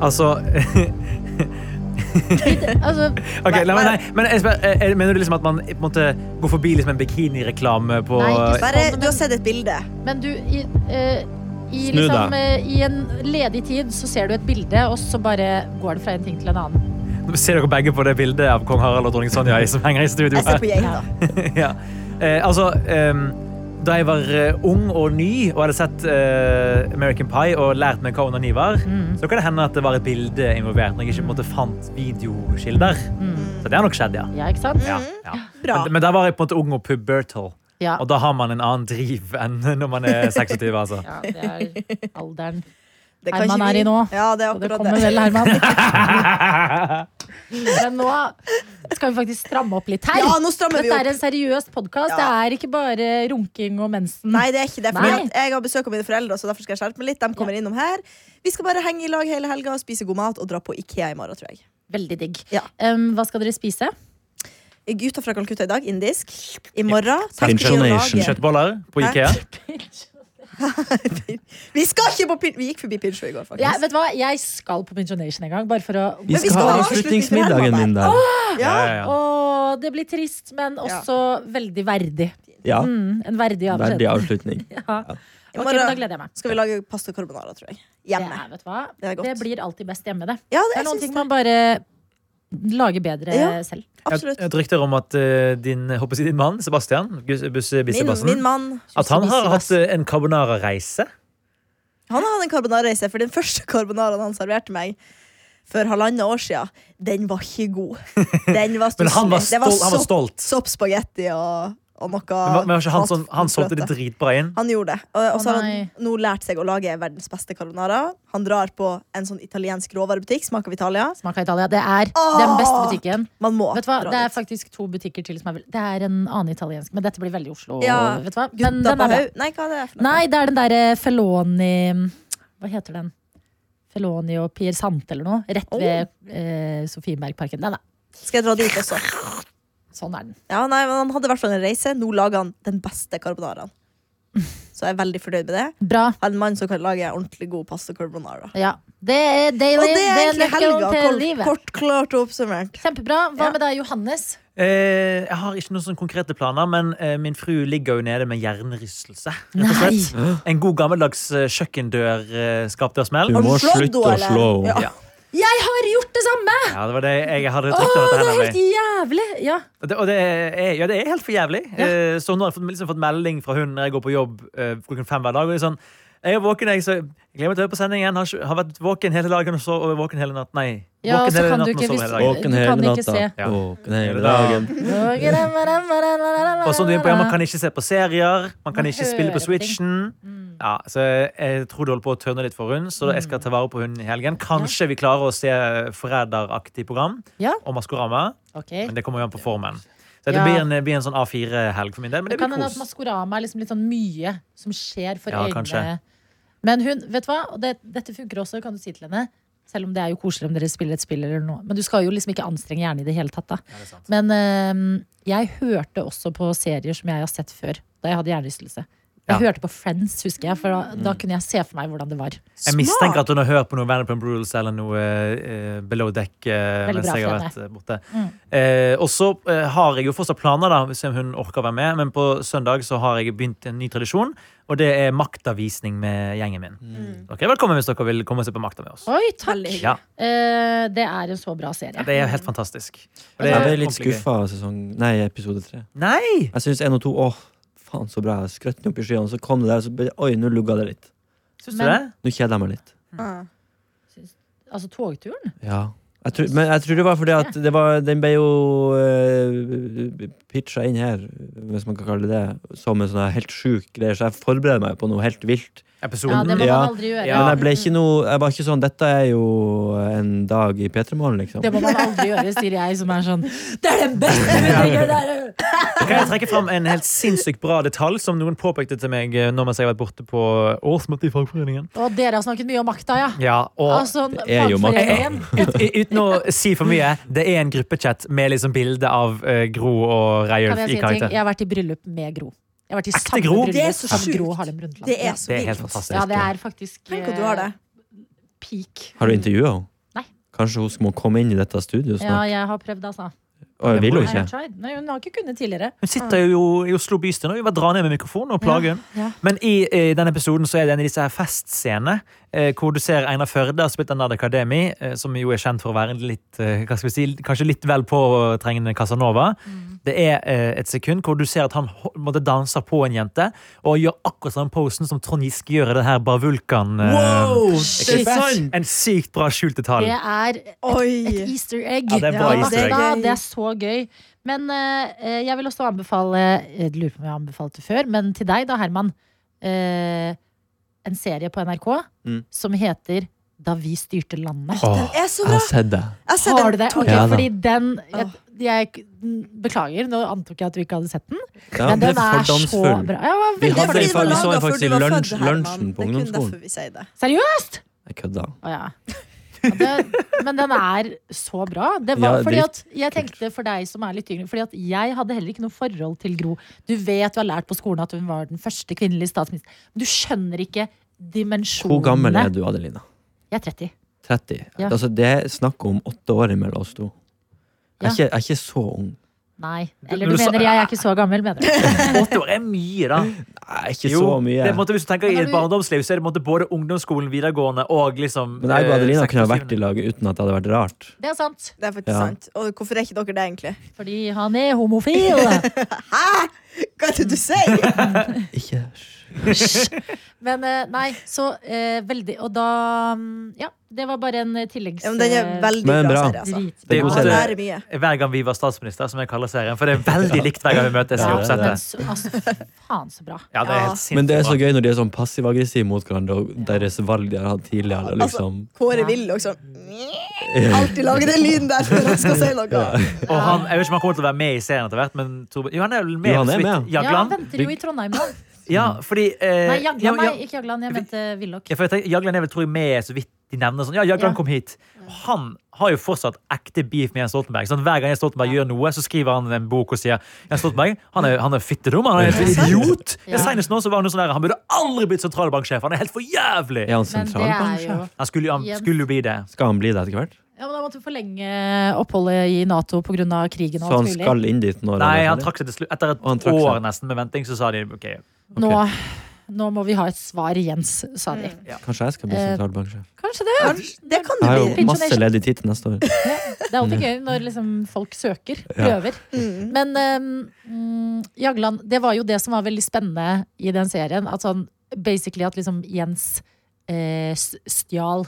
Altså
Altså,
ok, la meg, nei. Men jeg spør, eh, eh, Mener du liksom at man på en måte, går forbi liksom en bikinireklame på
Nei, ikke sant.
Bare, du har sett et bilde.
men du i, eh, i,
Snu
liksom,
deg.
eh, I en ledig tid så ser du et bilde, og så bare går det fra en ting til en annen.
Ser dere begge på det bildet av kong Harald og dronning Sonja i- som henger i studio
Jeg ser
her?
på
Ja.
geita.
ja. eh, altså ehm, Da jeg var eh, ung og ny og hadde sett eh, American Pie og lært meg hva onani var, så kan det hende at det var et bilde involvert når jeg ikke på en måte, fant videokilder. Så det har nok skjedd, ja.
Ja, ikke sant?
ja, ja.
Bra.
Men, men der var jeg på en måte ung og pubertal.
Ja.
Og da har man en annen driv enn når man er 26. altså.
Ja, det er alderen.
Det kan
Herman
ikke
er
vi-
i nå.
Ja, det er
Og det
akkurat
kommer
det.
vel, Herman. Men nå skal vi faktisk stramme opp litt her.
Ja, nå strammer vi
Dette
opp.
er en seriøs podkast. Det
Ja.
er ikke bare runking og mensen.
Nei, det er ikke det.
Nei.
Fordi at jeg har besøk av mine foreldre, så derfor skal jeg skjerpe meg litt. De kommer innom her. Vi skal bare henge i lag hele helga, spise god mat og dra på Ikea i morgen, tror jeg.
Veldig digg.
Ja.
Um, hva skal dere spise?
Gutta fra Calcutta i dag, indisk. I morgen
Pinchon
taquinolager.
Nation.
Kjøttboller på
Hæ?
Ikea.
Vi skal ikke på pin... Vi gikk forbi Pincho i går, faktisk.
Jeg, vet du hva? jeg skal på pensjonation en gang. Bare for å
Vi
Men vi
skal
skal ha
ha avslutningsmiddagen min der.
Ja,
Ja.
ja, ja.
Å, det blir trist, men også veldig verdig.
Ja,
Mm, en verdig
Verdig
avskjed.
avslutning.
Ja.
I
Ok, men
morgen
Da gleder jeg meg.
skal vi lage pasta carbonara, tror jeg.
Det,
Hjemme.
er, vet du hva?
Det er godt.
det blir alltid best hjemme, det.
Ja,
Det
det,
er noen
jeg
ting
syns
man
det.
bare lager bedre
Ja.
selv.
Et,
Absolutt.
et rykte om at eh, din, jeg håper å si din mann, Sebastian, Gus- Busse
Min, min
Bissebassen,
mann
at han har hatt
Bissebass.
eh, en carbonara-reise.
Han hadde en carbonara-reise, for den første carbonaraen han serverte meg for halvannet år siden, den var ikke god. Den var
Men han var
stusslig. Det var
stolt- han var
sopp-
stolt.
Soppspagetti og, og noe
Men, var- men var ikke han,
mat-
sånn, han solgte det
fløte.
dritbra inn?
Han gjorde det. Og og så har han
nei.
nå lært seg å lage verdens beste carbonara. Han drar på en sånn italiensk råvarebutikk, Smak av Italia.
Smak av Italia. Det er den beste butikken.
Man må
Vet du hva?
dra
Det er
dit.
faktisk to butikker til som er vel- Det er en annen italiensk, men dette blir veldig Oslo.
Ja,
Vet du hva?
Gutta
Men den
på
er bra.
haug- Nei, hva er det for noe?
Nei, det er den derre Feloni Hva heter den? Feloni og Pier Sant eller noe. Rett
Oh.
ved eh, Sofienbergparken. Den, da.
Skal jeg dra dit også?
Sånn er den.
Ja, nei, men Han hadde i hvert fall en reise. Nå lager han den beste carbonaraen. Så jeg er veldig fornøyd med det.
Bra.
Jeg har en mann som kan lage ordentlig god pasta carbonara.
Ja. Det er daily.
Og det er egentlig helga.
nøkkelen til
Kort,
livet.
kort klart og oppsummert.
Kjempebra. Hva med deg, Johannes?
Eh, jeg har ikke noen sånne konkrete planer, men eh, min fru ligger jo nede med hjernerystelse. rett og
Nei.
slett. En god gammeldags eh, kjøkkendør-skapdørsmell.
Du må
slått
slutte
nå,
å
eller?
slå henne.
Ja.
Jeg har gjort det samme!
Ja, det var det jeg hadde et
Åh,
rykte om
det
dette.
er
her,
helt
nemlig.
jævlig! Ja.
Og det, og det, er, ja, det er helt for jævlig. Eh, så nå har jeg fått, liksom, fått melding fra hun når jeg går på jobb eh, klokken fem hver dag. Og det er sånn, jeg er våken, jeg, så jeg gleder meg til å høre på sendingen. Har, ikke- har vært våken hele dagen og sov og våken hele natten. Nei.
Ja,
våken
så
hele
kan du
natten og
ikke
sov
hvis-
hele dagen.
Våken
Du kan
hele
ikke
natta.
se.
Våken hele dagen.
Og
Og som du er inne på, ja, Man kan ikke se på serier, man kan
Man
ikke spille på
hører på ting.
Switchen.
Mm.
Ja, så Jeg tror det holder på å tørne litt for hun, så jeg skal ta vare på hun i helgen. Kanskje vi klarer å se forræderaktig program
Ja.
og Maskorama,
Ok.
men det kommer jo an på formen. Så Det
Ja.
blir en, blir en sånn A4-helg for min del, men det
kan
blir
hende at
kos.
Maskorama er liksom litt sånn mye som skjer for
Ja,
øynene.
kanskje.
Men hun, vet du hva? Og det, dette funker også, kan du si til henne. Selv om det er jo koselig om dere spiller et spill eller noe. Men du skal jo liksom ikke anstrenge hjernen i det hele tatt. da. Men øhm, jeg hørte også på serier som jeg har sett før, da jeg hadde hjernerystelse. Jeg
Ja.
hørte på Friends, husker jeg, for da, da kunne jeg se for meg hvordan det var.
Jeg mistenker at hun har hørt på noe Vanderpump Rules eller noe eh, Below Deck. Eh,
Veldig
mens
bra Mm.
jeg har
for
vært eh, borte. Eh, og så eh, har jeg jo fortsatt planer, da, hvis hun orker å være med. Men på søndag så har jeg begynt en ny tradisjon, og det er maktavisning med gjengen min.
Mm.
Dere er velkommen hvis dere vil komme og se på Makta med oss.
Oi, takk!
Veldig hyggelig.
Ja,
Eh, det er en så bra serie.
Det er helt fantastisk. Og det
Jeg
er
ble litt
ordentlig gøy.
skuffa av sesong Nei, episode tre.
Nei!
Jeg syns én og to Åh, faen, så bra. Jeg skrøt den opp i skyene, så kom det der, og så ble Oi, nå lugga det litt.
Syns du det?
Men-
Nå kjeder jeg meg litt.
Ah.
Altså togturen?
Ja. Jeg tror, men jeg tror det var fordi at det var, den ble jo uh, pitcha inn her, hvis man kan kalle det det, som en sånn her helt sjuk greie, så jeg forbereder meg på noe helt vilt.
Ja, det
Episoden.
må man
Ja.
aldri gjøre.
Ja.
Men jeg ble ikke noe Jeg var ikke sånn Dette er jo en dag i P3 Morgen, liksom.
Det må man aldri gjøre, sier jeg, som er sånn Det er den beste utviklingen der! eh."
Kan jeg trekke fram en helt sinnssykt bra detalj som noen påpekte til meg eh, nå mens jeg har vært borte på årsmøtet i fagforeningen?
Og dere har snakket mye om makta, ja.
Ja, og
Altså,
Det er jo makta.
fagforeningen.
Ut, i- uten å si for mye, det er en gruppechat med liksom bilde av eh, Gro og
Kan
Reiulf i
jeg si en ting?
karakter.
Jeg har vært i bryllup med Gro. Jeg har vært i
Ekte
samme
Gro?
bryllup
Det er så
som
sjukt.
Gro Harlem Brundtland.
Det
Ja.
er så
Det er helt
vilt.
fantastisk.
ja, det er faktisk
Tenk at du har det.
eh, peak.
Har du intervjua henne?
Nei.
Kanskje hun må komme inn i dette studioet
Ja,
snart?
jeg har prøvd, altså.
Å, jeg vil
Hun
jo
I have
ikke.
tried. Nei, hun har ikke kunnet tidligere.
Hun sitter jo i Oslo bystyre nå. Vi bare drar ned med mikrofonen og plager hun.
Ja.
Men i, eh, denne episoden så er det en av disse her festscenene eh, hvor du ser Einar Førde har spilt av Nad Akademi, eh, som jo er kjent for å være en litt, eh, hva skal vi si, kanskje litt vel påtrengende Casanova.
Mm.
Det er eh, et sekund hvor du ser at han ho- måtte danse på en jente og gjør akkurat samme posen som Trond Giske gjør i det her Bavulkan. eh,
shit.
det er sant!
En sykt bra skjult detalj.
Det er Et
Oi!
easter egg.
Ja, det er bra
Ja,
easter egg.
det er-
Gøy.
Det er så gøy. Men eh, jeg vil også anbefale Jeg lurer på om jeg har anbefalt det før, men til deg da, Herman. eh, en serie på NRK
Mm.
som heter Da vi styrte landet.
Åh.
Er så
Jeg
bra!
har sett det.
Jeg ser
Har du
den
det?
to-
Ok,
Ja da.
fordi den jeg,
Åh.
jeg beklager, nå antok jeg at du ikke hadde sett den.
Ja,
men
det
den
er
er så
fordomsfull.
bra. Ja,
Vi
Det
veldig
er
hadde liksom-
fordi
en
det var
fag- vi
fordomsfull.
så
laget
den faktisk
før du
i
var
lunsj-
født, Herman.
lunsjen
Det
på
er kun
ungdomsskolen.
derfor vi sier det.
Seriøst?
Jeg kødda.
Å, ja. Ja, det, men den er så bra. Det var
Ja,
fordi at
dritt.
jeg tenkte for deg som er litt yngre Fordi at jeg hadde heller ikke noe forhold til Gro. Du vet du har lært på skolen at hun var den første kvinnelige statsministeren. Men du skjønner ikke dimensjonene.
Hvor gammel er du, Adelina?
Jeg er 30.
30?
Ja.
Altså, det er snakk om åtte år mellom oss to. Jeg
Ja.
er ikke, jeg er ikke så ung.
Nei. Eller
Når
du
du sa-
mener jeg er ikke så gammel, mener du?
Åtte år er mye, da.
Nei, ikke
Jo,
så
Det
mye.
er, på en måte, hvis du tenker I
Men har
et
du-
barndomsliv så er det på en måte både ungdomsskolen, videregående og liksom
Men jeg og
eh,
Adelina kunne ha vært i
26.
lag uten at det hadde vært rart.
Det er sant.
Det er faktisk
Ja.
sant. Og hvorfor er ikke dere det, egentlig?
Fordi han er homofil.
Hva er
Mm.
det du sier?
Ikke
Hysj. Men eh, nei, så eh, veldig Og da mm, Ja, det var bare en eh, tilleggs...
Ja, men den er
eh,
veldig
Men
bra
bra.
serie, altså.
dritbra.
Det er god
Man
serie.
lærer mye.
Hver gang vi var statsminister, som jeg kaller serien. For det er veldig likt hver gang vi møtes. i
Ja,
Ja, men
oppsettet.
så, altså, fy faen så bra.
Ja, det er helt
Men det er så
sinnssykt bra.
gøy når de er sånn passiv-aggressive mot hverandre og deres valg de har hatt
Altså,
tidligere. og Liksom.
Kåre vil også alltid lage den lyden der før han skal si noe.
Og han, jeg vet ikke om han kommer til å være med i serien etter hvert, men Tor- jo, han er jo med.
Jo, han er
så vidt.
med.
Ja, han
Jagland.
venter jo i Trondheim nå.
Ja, fordi eh,
Nei,
ja,
Jagland,
ja,
nei, ikke Jagland. Jeg mente Willoch.
ja, for jeg tenker, Jagland er vel tror jeg med så vidt de nevner sånn. Ja, Jagland
Ja.
kom hit. Og Han har jo fortsatt ekte beef med Jens Stoltenberg. Sånn, hver gang Jens Stoltenberg gjør noe, så skriver han en bok og sier Jens Stoltenberg, han er, han er fittedum, han er en idiot.
Ja.
Ja. Senest nå så var han noe sånn der, han burde aldri blitt sentralbanksjef, han er helt for jævlig.
Er
Men det er
han
jo
sentralbanksjef?
Han skulle, jo- han
Jens.
skulle jo bli det.
Skal han bli det etter hvert?
Ja, men Da måtte vi forlenge eh, oppholdet i Nato pga. krigen.
Sånn
og
Så
alt
han
mulig.
skal inn dit når
Nei,
er
han
ferdig?
trakk seg til slutt. Etter et
Og han trakk
år
seg.
nesten med venting, så sa de OK.
nå, nå må vi ha et svar, Jens, sa de.
Mm.
Kanskje jeg skal bli
Eh,
sentralbanksjef?
Kanskje det.
Det kan
Jeg
det
har
bli.
jo masse ledig tid til neste år.
Ja, det er alltid gøy når liksom folk søker, prøver. Men ehm, mm, Jagland, det var jo det som var veldig spennende i den serien. At sånn, basically at liksom Jens eh, s- stjal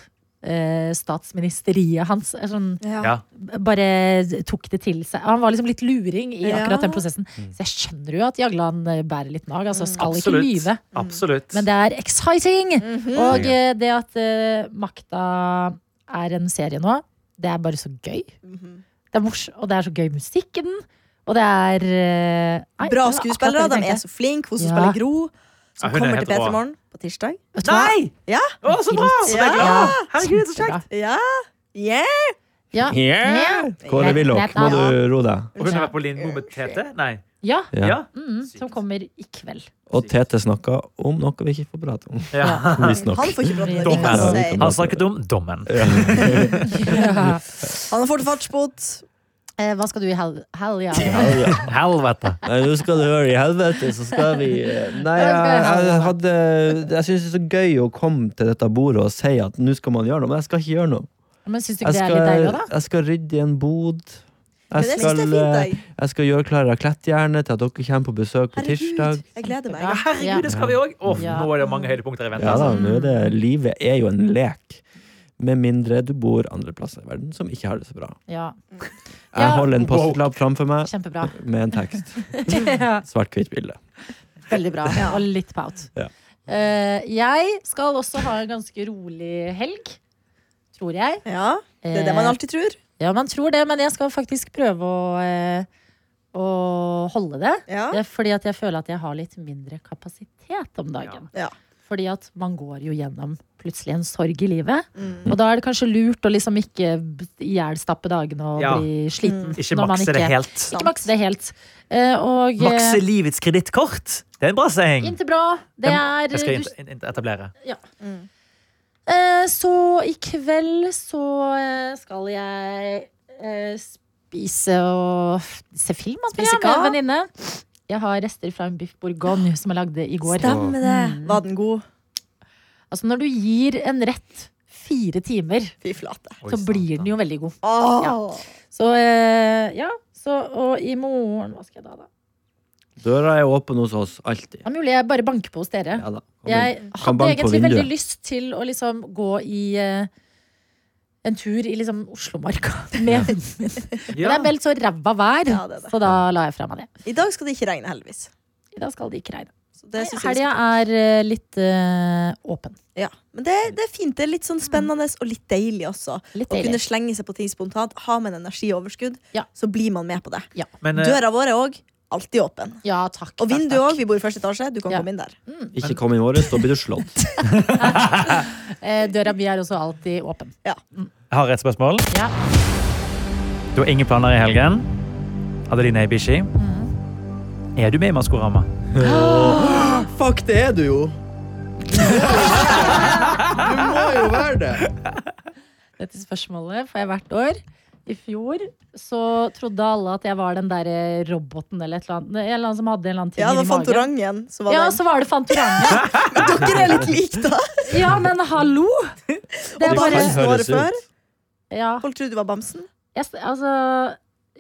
eh, statsministeriet hans. Er Sånn,
Ja.
bare tok det til seg. Han var liksom litt luring i akkurat den
Ja.
prosessen. Så jeg skjønner jo at Jagland eh, bærer litt nag. Altså, skal ikke
Absolutt.
lyve.
Absolutt.
Men det er exciting! Og eh, det at eh, makta er en serie nå, det er bare så gøy. Det er mors, og det er så gøy musikk i den. Og det er eh, nei,
Bra
det var
skuespillere.
akkurat det
De
jeg
er
tenkte.
så flinke. Hun som
Ja.
spiller Gro,
Ja,
som
hun er
kommer
helt
til P3
rå.
Morgen på tirsdag.
Vet du hva?
Nei!
Ja.
Å, så bra!
Dritbra.
Så det er glad.
Ja.
Herregud, så
Kjempebra.
kjekt.
Ja! Yeah!
Ja.
Yeah. Kåre Willoch, må du roe deg.
Og hun har vært på Lindmo med Tete? Nei.
ja.
Ja.
Ja.
Mm, som kommer i kveld.
Og Tete snakka om noe vi ikke får prate om.
ja.
Visstnok.
Han får ikke prate med altså.
Dommen.
Niklas
Ja, vi
Seid.
kan-
Han snakket om dommen.
Han har fått fartsbot.
Eh, hva skal du i hel... hel ja.
Helvete.
Nei, nå skal du høre i helvete, så skal vi eh, Nei,
Ja,
jeg,
det skal jeg
jeg hadde Jeg syns det er så gøy å komme til dette bordet og si at nå skal man gjøre noe, men jeg skal ikke gjøre noe.
Men syns du ikke
Jeg
det er litt deilig,
skal,
da?
jeg skal rydde i en bod.
Men jeg
Jeg
synes
skal,
det er fint,
eh,
jeg.
jeg skal gjøre klar klettjerne til at dere kommer på besøk på tirsdag.
Herregud, jeg gleder meg.
Ja.
Herregud, det skal vi òg.
Ja.
Nå er det mange høydepunkter i vente.
Ja da,
altså.
nå er det, Livet er jo en lek. Med mindre du bor andre plasser i verden som ikke har det så bra.
Ja.
Jeg
Ja.
holder en Post-It-lapp framfor meg
Kjempebra.
med en tekst.
Ja.
Svart-hvitt bilde.
Veldig bra. Og litt pout.
Ja.
Eh, jeg skal også ha en ganske rolig helg. Tror jeg.
Ja, det er det
Eh,
man alltid tror.
Ja, man tror det, men jeg skal faktisk prøve å, eh, å holde det.
Ja.
Det er fordi at jeg føler at jeg har litt mindre kapasitet om dagen.
Ja. Ja.
Fordi at man går jo gjennom plutselig en sorg i livet.
Mm.
Og da er det kanskje lurt å liksom ikke b- ihjelstappe dagene og
Ja. Mm.
bli sliten.
Ikke
når man
makse det
ikke-
helt.
Ikke makse det helt. Eh, og eh,
Makse livets kredittkort. Det er en bra saying.
Inntil bra. Det er
Jeg skal
du-
int- int- etablere.
Eh, Så i kveld så eh, skal jeg eh, spise og f- se film altså, ja,
Spise
med en
hva?
venninne. Jeg har rester fra en biff bourgogne som jeg lagde i går.
Stemmer det. Var den god?
Altså Når du gir en rett fire timer,
Fy flate.
Oi,
så
sant,
blir
da.
den jo veldig god.
Åh.
Så eh, ja. Så, og i morgen Hva skal jeg da, da?
Døra er åpen hos oss alltid.
Det er mulig jeg bare banker på hos dere.
Ja da. Kom inn.
Jeg
Kan
hadde
banke på
egentlig veldig
vinduet.
lyst til å liksom gå i eh, en tur i liksom Oslomarka med hunden min. Men det
Ja.
er vel så ræva vær,
Ja, det er det.
så da la jeg fra meg det.
I dag skal det ikke regne, heldigvis.
I dag skal det ikke regne.
Så det synes jeg vi
Helga er eh, litt eh, åpen.
skal- ja. Men det, det er fint. Det er litt sånn spennende og litt deilig også.
Litt
Å kunne
deilig.
slenge seg på ting spontant. Har man energioverskudd,
Ja.
så blir man med på det.
Men, eh,
Døra vår er òg alltid åpen.
Ja, takk.
Og
takk,
vinduet
takk.
òg. Vi bor i første etasje. Du kan
Ja.
komme inn der.
Ikke kom inn våres, da blir du slått.
Eh, Døra mi er også alltid åpen.
Jeg eh, har et spørsmål.
Ja.
Du har ingen planer i helgen. Adeline Ibishi.
Mhm.
Er du med i Maskorama?
Fuck, det er du jo! Du må jo være det!
Dette spørsmålet får jeg hvert år. I fjor så trodde alle at jeg var den der eh, roboten eller et eller annet. En eller annen som hadde en eller annen ting
Ja, det var
inni magen.
Fantorangen som var
Ja,
den.
så var det Fantorangen.
Men dere er litt like, da.
Ja, men hallo! Det er
Og
Bare
bare
kan høres
året
ut.
før.
Ja.
Folk trodde du var bamsen.
Jeg, s- altså,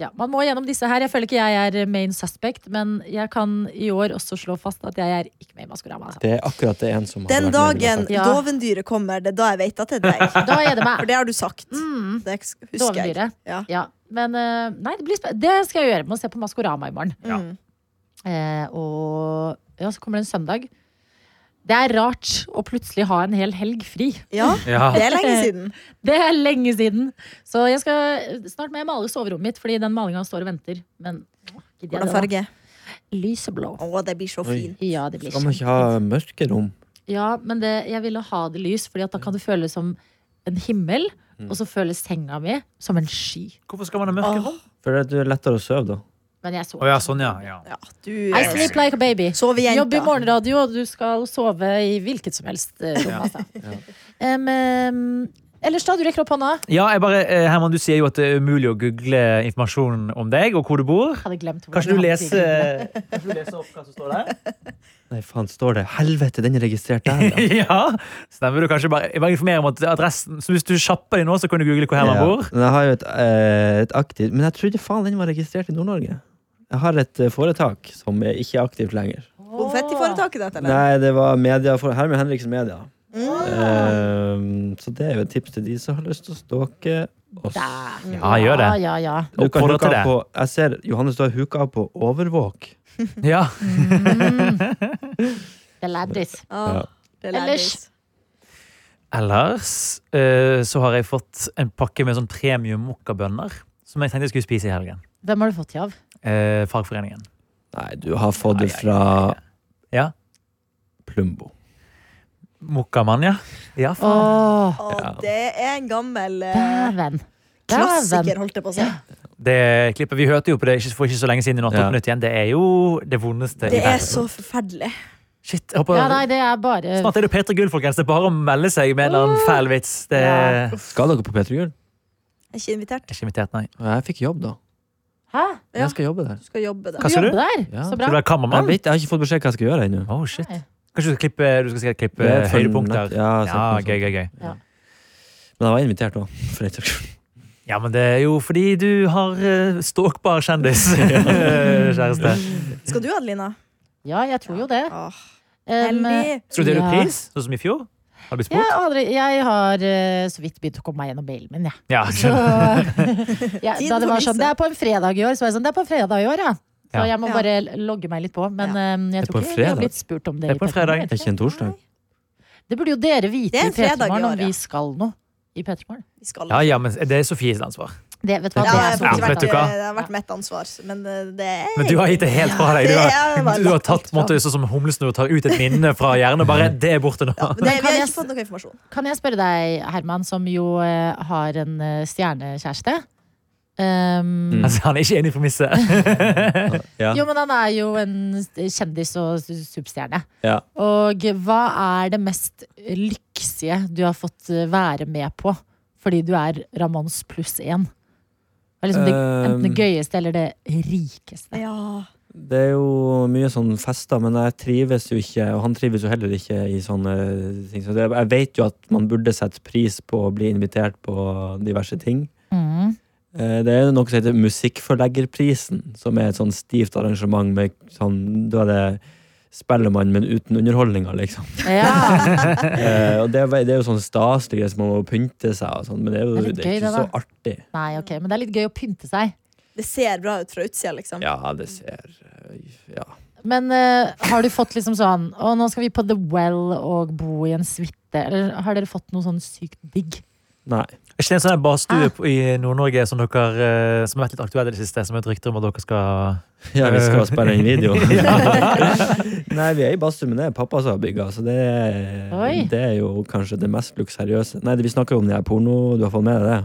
ja, man må gjennom disse her. Jeg føler ikke jeg er main suspect, men jeg kan i år også slå fast at jeg er ikke med i Maskorama. Altså.
Det er akkurat det en som har
Den
vært med i
dagen
Maskorama.
Ja.
dovendyret kommer, det er da jeg vet at det er deg.
Da er det meg.
For det har du sagt.
Mm,
Det husker jeg.
Dovendyret.
Ja.
Ja. Men eh, nei, det, blir spe- det skal jeg gjøre. Må se på Maskorama i morgen.
Ja.
Mm.
Eh, og ja, så kommer det en søndag. Det er rart å plutselig ha en hel helg fri.
ja,
Ja.
det er lenge siden.
Det er lenge siden. Så jeg skal snart må jeg male soverommet mitt, fordi den malinga står og venter. Men åh, gidder
Hvordan
jeg det,
farge?
da? Lyseblå.
Å, det blir så
Oi.
fint.
Ja, det blir
Skal man ikke ha mørke rom?
Ja, men det, jeg ville ha det lys, Fordi at da kan det føles som en himmel.
Mm.
Og så føles senga mi som en sky.
Hvorfor skal man ha mørke rom?
For det er lettere å sove da.
Men jeg sover.
Å ja, sånn, ja. ja.
Ja, du
I
eh,
sleep like a baby.
Sov i jenta.
Jobb i morgenradio, og du skal sove i hvilket som helst eh, rom. Altså. Em, em, ellers, da? Du rekker opp hånda.
Ja, jeg bare, eh, Herman, du sier jo at det er umulig å google informasjon om deg og hvor du bor.
Hadde glemt hvordan
Kanskje du
jeg hadde
leser,
tiggerhullet.
kanskje du leser opp hva som står der?
Nei, faen, står det. Helvete, den er registrert der. ja.
ja, stemmer du kanskje bare, jeg bare informerer om at adressen, så hvis du kjapper deg nå, så kan du google hvor Herman
Ja.
bor.
Men jeg har jo et, eh, et aktivt Men jeg trodde faen den var registrert i Nord-Norge. Jeg har et eh, foretak som er ikke aktivt lenger.
Konfettiforetaket ditt, eller?
Nei, det var media for Herman Henriksen Media. Eh, så det er jo et tips til de som har lyst til å stalke oss.
Der.
Ja, gjør det.
mm. Ja, ja, ja.
Du kan
Oppfordrer
huke
til
av
det.
på, jeg ser Johannes, du har huka av på overvåk.
Ja.
Det er lættis.
Ah, det er
Ellers?
lættis.
Ellers eh, så har jeg fått en pakke med sånn premium mokkabønner, som jeg tenkte jeg skulle spise i helgen.
Hvem har du fått i av?
Eh, fagforeningen.
Nei, du har fått det
Ai, ai,
fra
Ja.
Plumbo.
Mokkamann, ja. Ja, faen.
Åh,
Å, det er en gammel eh,
Dæven.
klassiker, holdt jeg på å si.
Det klippet, vi hørte jo på det ikke- for ikke så lenge siden i Natt
Ja.
opp nytt igjen. Det er jo det vondeste i
Det er
verden.
så forferdelig.
Shit, jeg håper...
Ja, nei, det er bare
Snart er det Peter Gull, folkens. Det er bare å melde seg med en eller annen fæl vits. Det
Ja.
er
Skal dere på P3 Gull?
Jeg er ikke invitert.
ikke invitert, nei.
Jeg fikk jobb, da.
Hæ?
Ja.
Jeg skal jobbe der.
Du skal jobbe, da.
Hva sa du?
Jobbe der?
Ja.
Så
Skal du
bra.
være kameramann?
Jeg, vet, jeg har ikke fått beskjed hva jeg skal gjøre ennå.
Oh, shit.
Nei.
Kanskje du skal klippe, du skal sikkert klippe
Det er for
høydepunkter?
nett- ja,
eh, ja,
sånn-
gøy, gøy, gøy.
Men jeg var invitert òg, for den saks skyld.
Ja, men det er jo fordi du har eh, stalkbar kjendis, eh, kjæreste.
Skal du, Adelina? Ah,
Ja, jeg tror jo det. Um,
Åh,
Em,
heldig.
Skal du dele ut
Ja.
pris, sånn som i fjor? Har du blitt
jeg,
spurt?
har aldri- jeg har eh, så vidt begynt å komme meg gjennom mailen min, jeg.
Ja.
Så, ja,
Tiden
da det var
får
sånn,
vise.
det er på en fredag i år, så var jeg sånn, det er på en fredag i år, ja. Så
Ja.
jeg må
Ja.
bare logge meg litt på. Men
Ja.
eh, jeg
Det er
tror
på en
ikke jeg har
fredag.
blitt spurt om det.
Det er
i
på en
Petremorgen,
fredag.
jeg
Det er
tror
ikke en torsdag.
Det burde jo dere vite
Det er
i
en fredag i
Petremorgen
år,
om
ja.
vi skal noe i Petremorgen.
Vi skal
ja, ja, men det er Sofies ansvar.
Det vet du
Ja,
hva, det
det, har
er så
faktisk
faktisk
vet
vært, eh,
du
fredag.
hva?
det har vært mitt ansvar, men eh, det er
Men du har gitt det helt fra deg. Du
Ja, det
har,
var
du har tatt på en måte, sånn som humlesnurr tar ut et minne fra hjernen, og bare det er borte nå.
Men det, Vi
kan
har
jeg
ikke fått noe informasjon.
Kan jeg spørre deg, Herman, som jo eh, har en eh, stjernekjæreste? Um,
Altså, han er ikke enig i premisset.
Ja.
Jo, men han er jo en kjendis og superstjerne.
Ja.
Og hva er det mest lyksige du har fått eh, være med på fordi du er Ramons pluss én? Det er liksom det, enten det
Um.
gøyeste eller det rikeste.
Ja.
Det er jo mye sånn fester, men jeg trives jo ikke, og han trives jo heller ikke i sånne ting. Så det, jeg vet jo at man burde sette pris på å bli invitert på diverse ting.
Mm.
Eh, Det er noe som heter Musikkforleggerprisen, som er et sånn stivt arrangement med sånn Da er det Spellemann, men uten underholdninga, liksom.
Ja.
Eh, og det, er- det er jo sånn staselig greier som man må pynte seg og sånn, men det er jo
Det er
det er
litt gøy,
ikke så
det
artig.
Nei, ok, men det er litt gøy å pynte seg.
Det ser bra ut fra utsida, liksom.
Ja, det ser eh, Ja.
Men eh, har du fått liksom sånn Å, nå skal vi på The Well og bo i en suite. Eller har dere fått noe sånn sykt digg?
Nei.
Er ikke det en sånn her badstue på- i Nord-Norge som, dere, eh, som har vært litt aktuell i det siste, som er et rykte om at dere skal
Ja, vi skal spille inn video. Nei, vi er i badstue, men det er pappa som har bygga, så det er,
Oi.
det er jo kanskje det mest luksuriøse. Nei, vi snakker jo om den her porno, du har fått med deg det?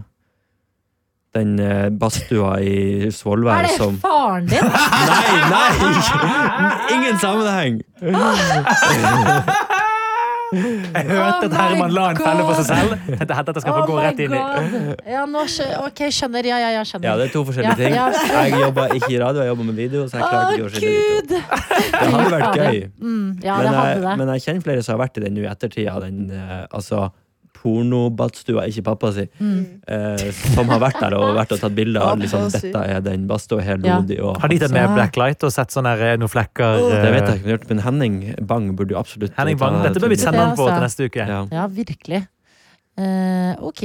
Den eh, badstua i
Er
Svolvær
det
som
faren din?
Nei, nei! Ingen sammenheng!
Jeg hørte at
my
Herman la en felle på seg selv. Tenkte at dette skal få
Oh
gå
my
rett inn i.
God. Ja, nå skjø- ok, skjønner. Ja, ja, ja, skjønner.
Ja, det er to forskjellige ting.
Ja, ja.
Jeg jobba ikke i radio, jeg jobba med video. Så jeg
Å,
klarte ikke å skille ut.
gud!
Det hadde vært gøy.
Mm, ja, det
men,
hadde
eh,
det.
jeg, men jeg kjenner flere som har vært i den nå i ettertid av den eh, altså, pornobadstua, ikke pappa si,
Mm.
eh, som har vært der og vært og tatt bilder av liksom,
Pappa si.
dette er den badstua helt
Ja.
modig. Og,
Har de tatt med
Ja.
blacklight og sett sånne her, eh, noen flekker?
det vet jeg
eh,
ikke, om de har gjort, men Henning Bang burde jo absolutt
Henning Bang,
ta-
dette bør vi
ta-
sende han på til
Ja, altså.
neste uke.
Ja.
Ja, virkelig. Eh, ok.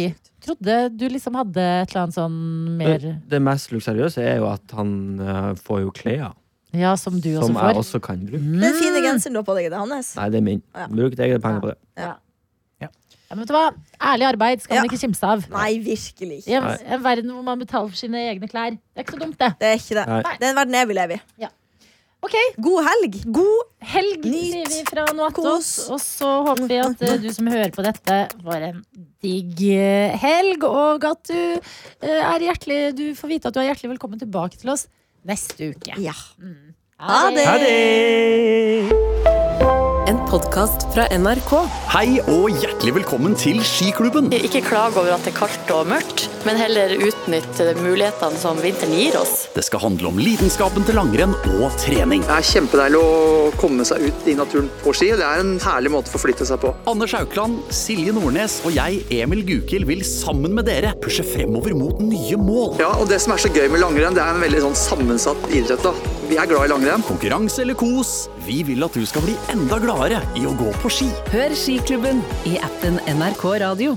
Trodde du liksom hadde et eller annet sånn mer
Det, det mest luksuriøse er jo at han eh, får jo klær
Ja, som du også
som jeg
får.
også kan bruke.
Mm.
Den fine genseren du har på deg, er det hans?
Nei, det er min.
Ja.
Bruk ditt eget penger på det.
Ja, men vet du hva? Ærlig arbeid skal man
Ja.
ikke kimse av.
Nei, virkelig
I
ikke.
en, en verden hvor man betaler for sine egne klær. Det er ikke så dumt, det.
Det er ikke det.
Nei.
Det er en verden jeg vil leve i.
Ok,
God helg!
God helg,
Nyt.
sier vi fra nå til oss.
Kos.
Og så håper vi at eh, du som hører på dette, får en digg eh, helg. Og at du, eh, er hjertelig, du får vite at du er hjertelig velkommen tilbake til oss neste uke.
Ja. Ha det!
Ha det!
En podkast fra NRK.
Hei og hjertelig velkommen til Skiklubben.
Ikke klag over at det er kaldt og mørkt, men heller utnytte mulighetene som vinteren gir oss.
Det skal handle om lidenskapen til langrenn og trening.
Det er kjempedeilig å komme seg ut i naturen på ski. Det er en herlig måte å forflytte seg på.
Anders Haukland, Silje Nordnes og jeg, Emil Gukild, vil sammen med dere pushe fremover mot nye mål.
Ja, og Det som er så gøy med langrenn, det er en veldig sånn sammensatt idrett. da. Vi er glad i langrenn.
Konkurranse eller kos, vi vil at du skal bli enda gladere i å gå på ski.
Hør Skiklubben i appen NRK Radio.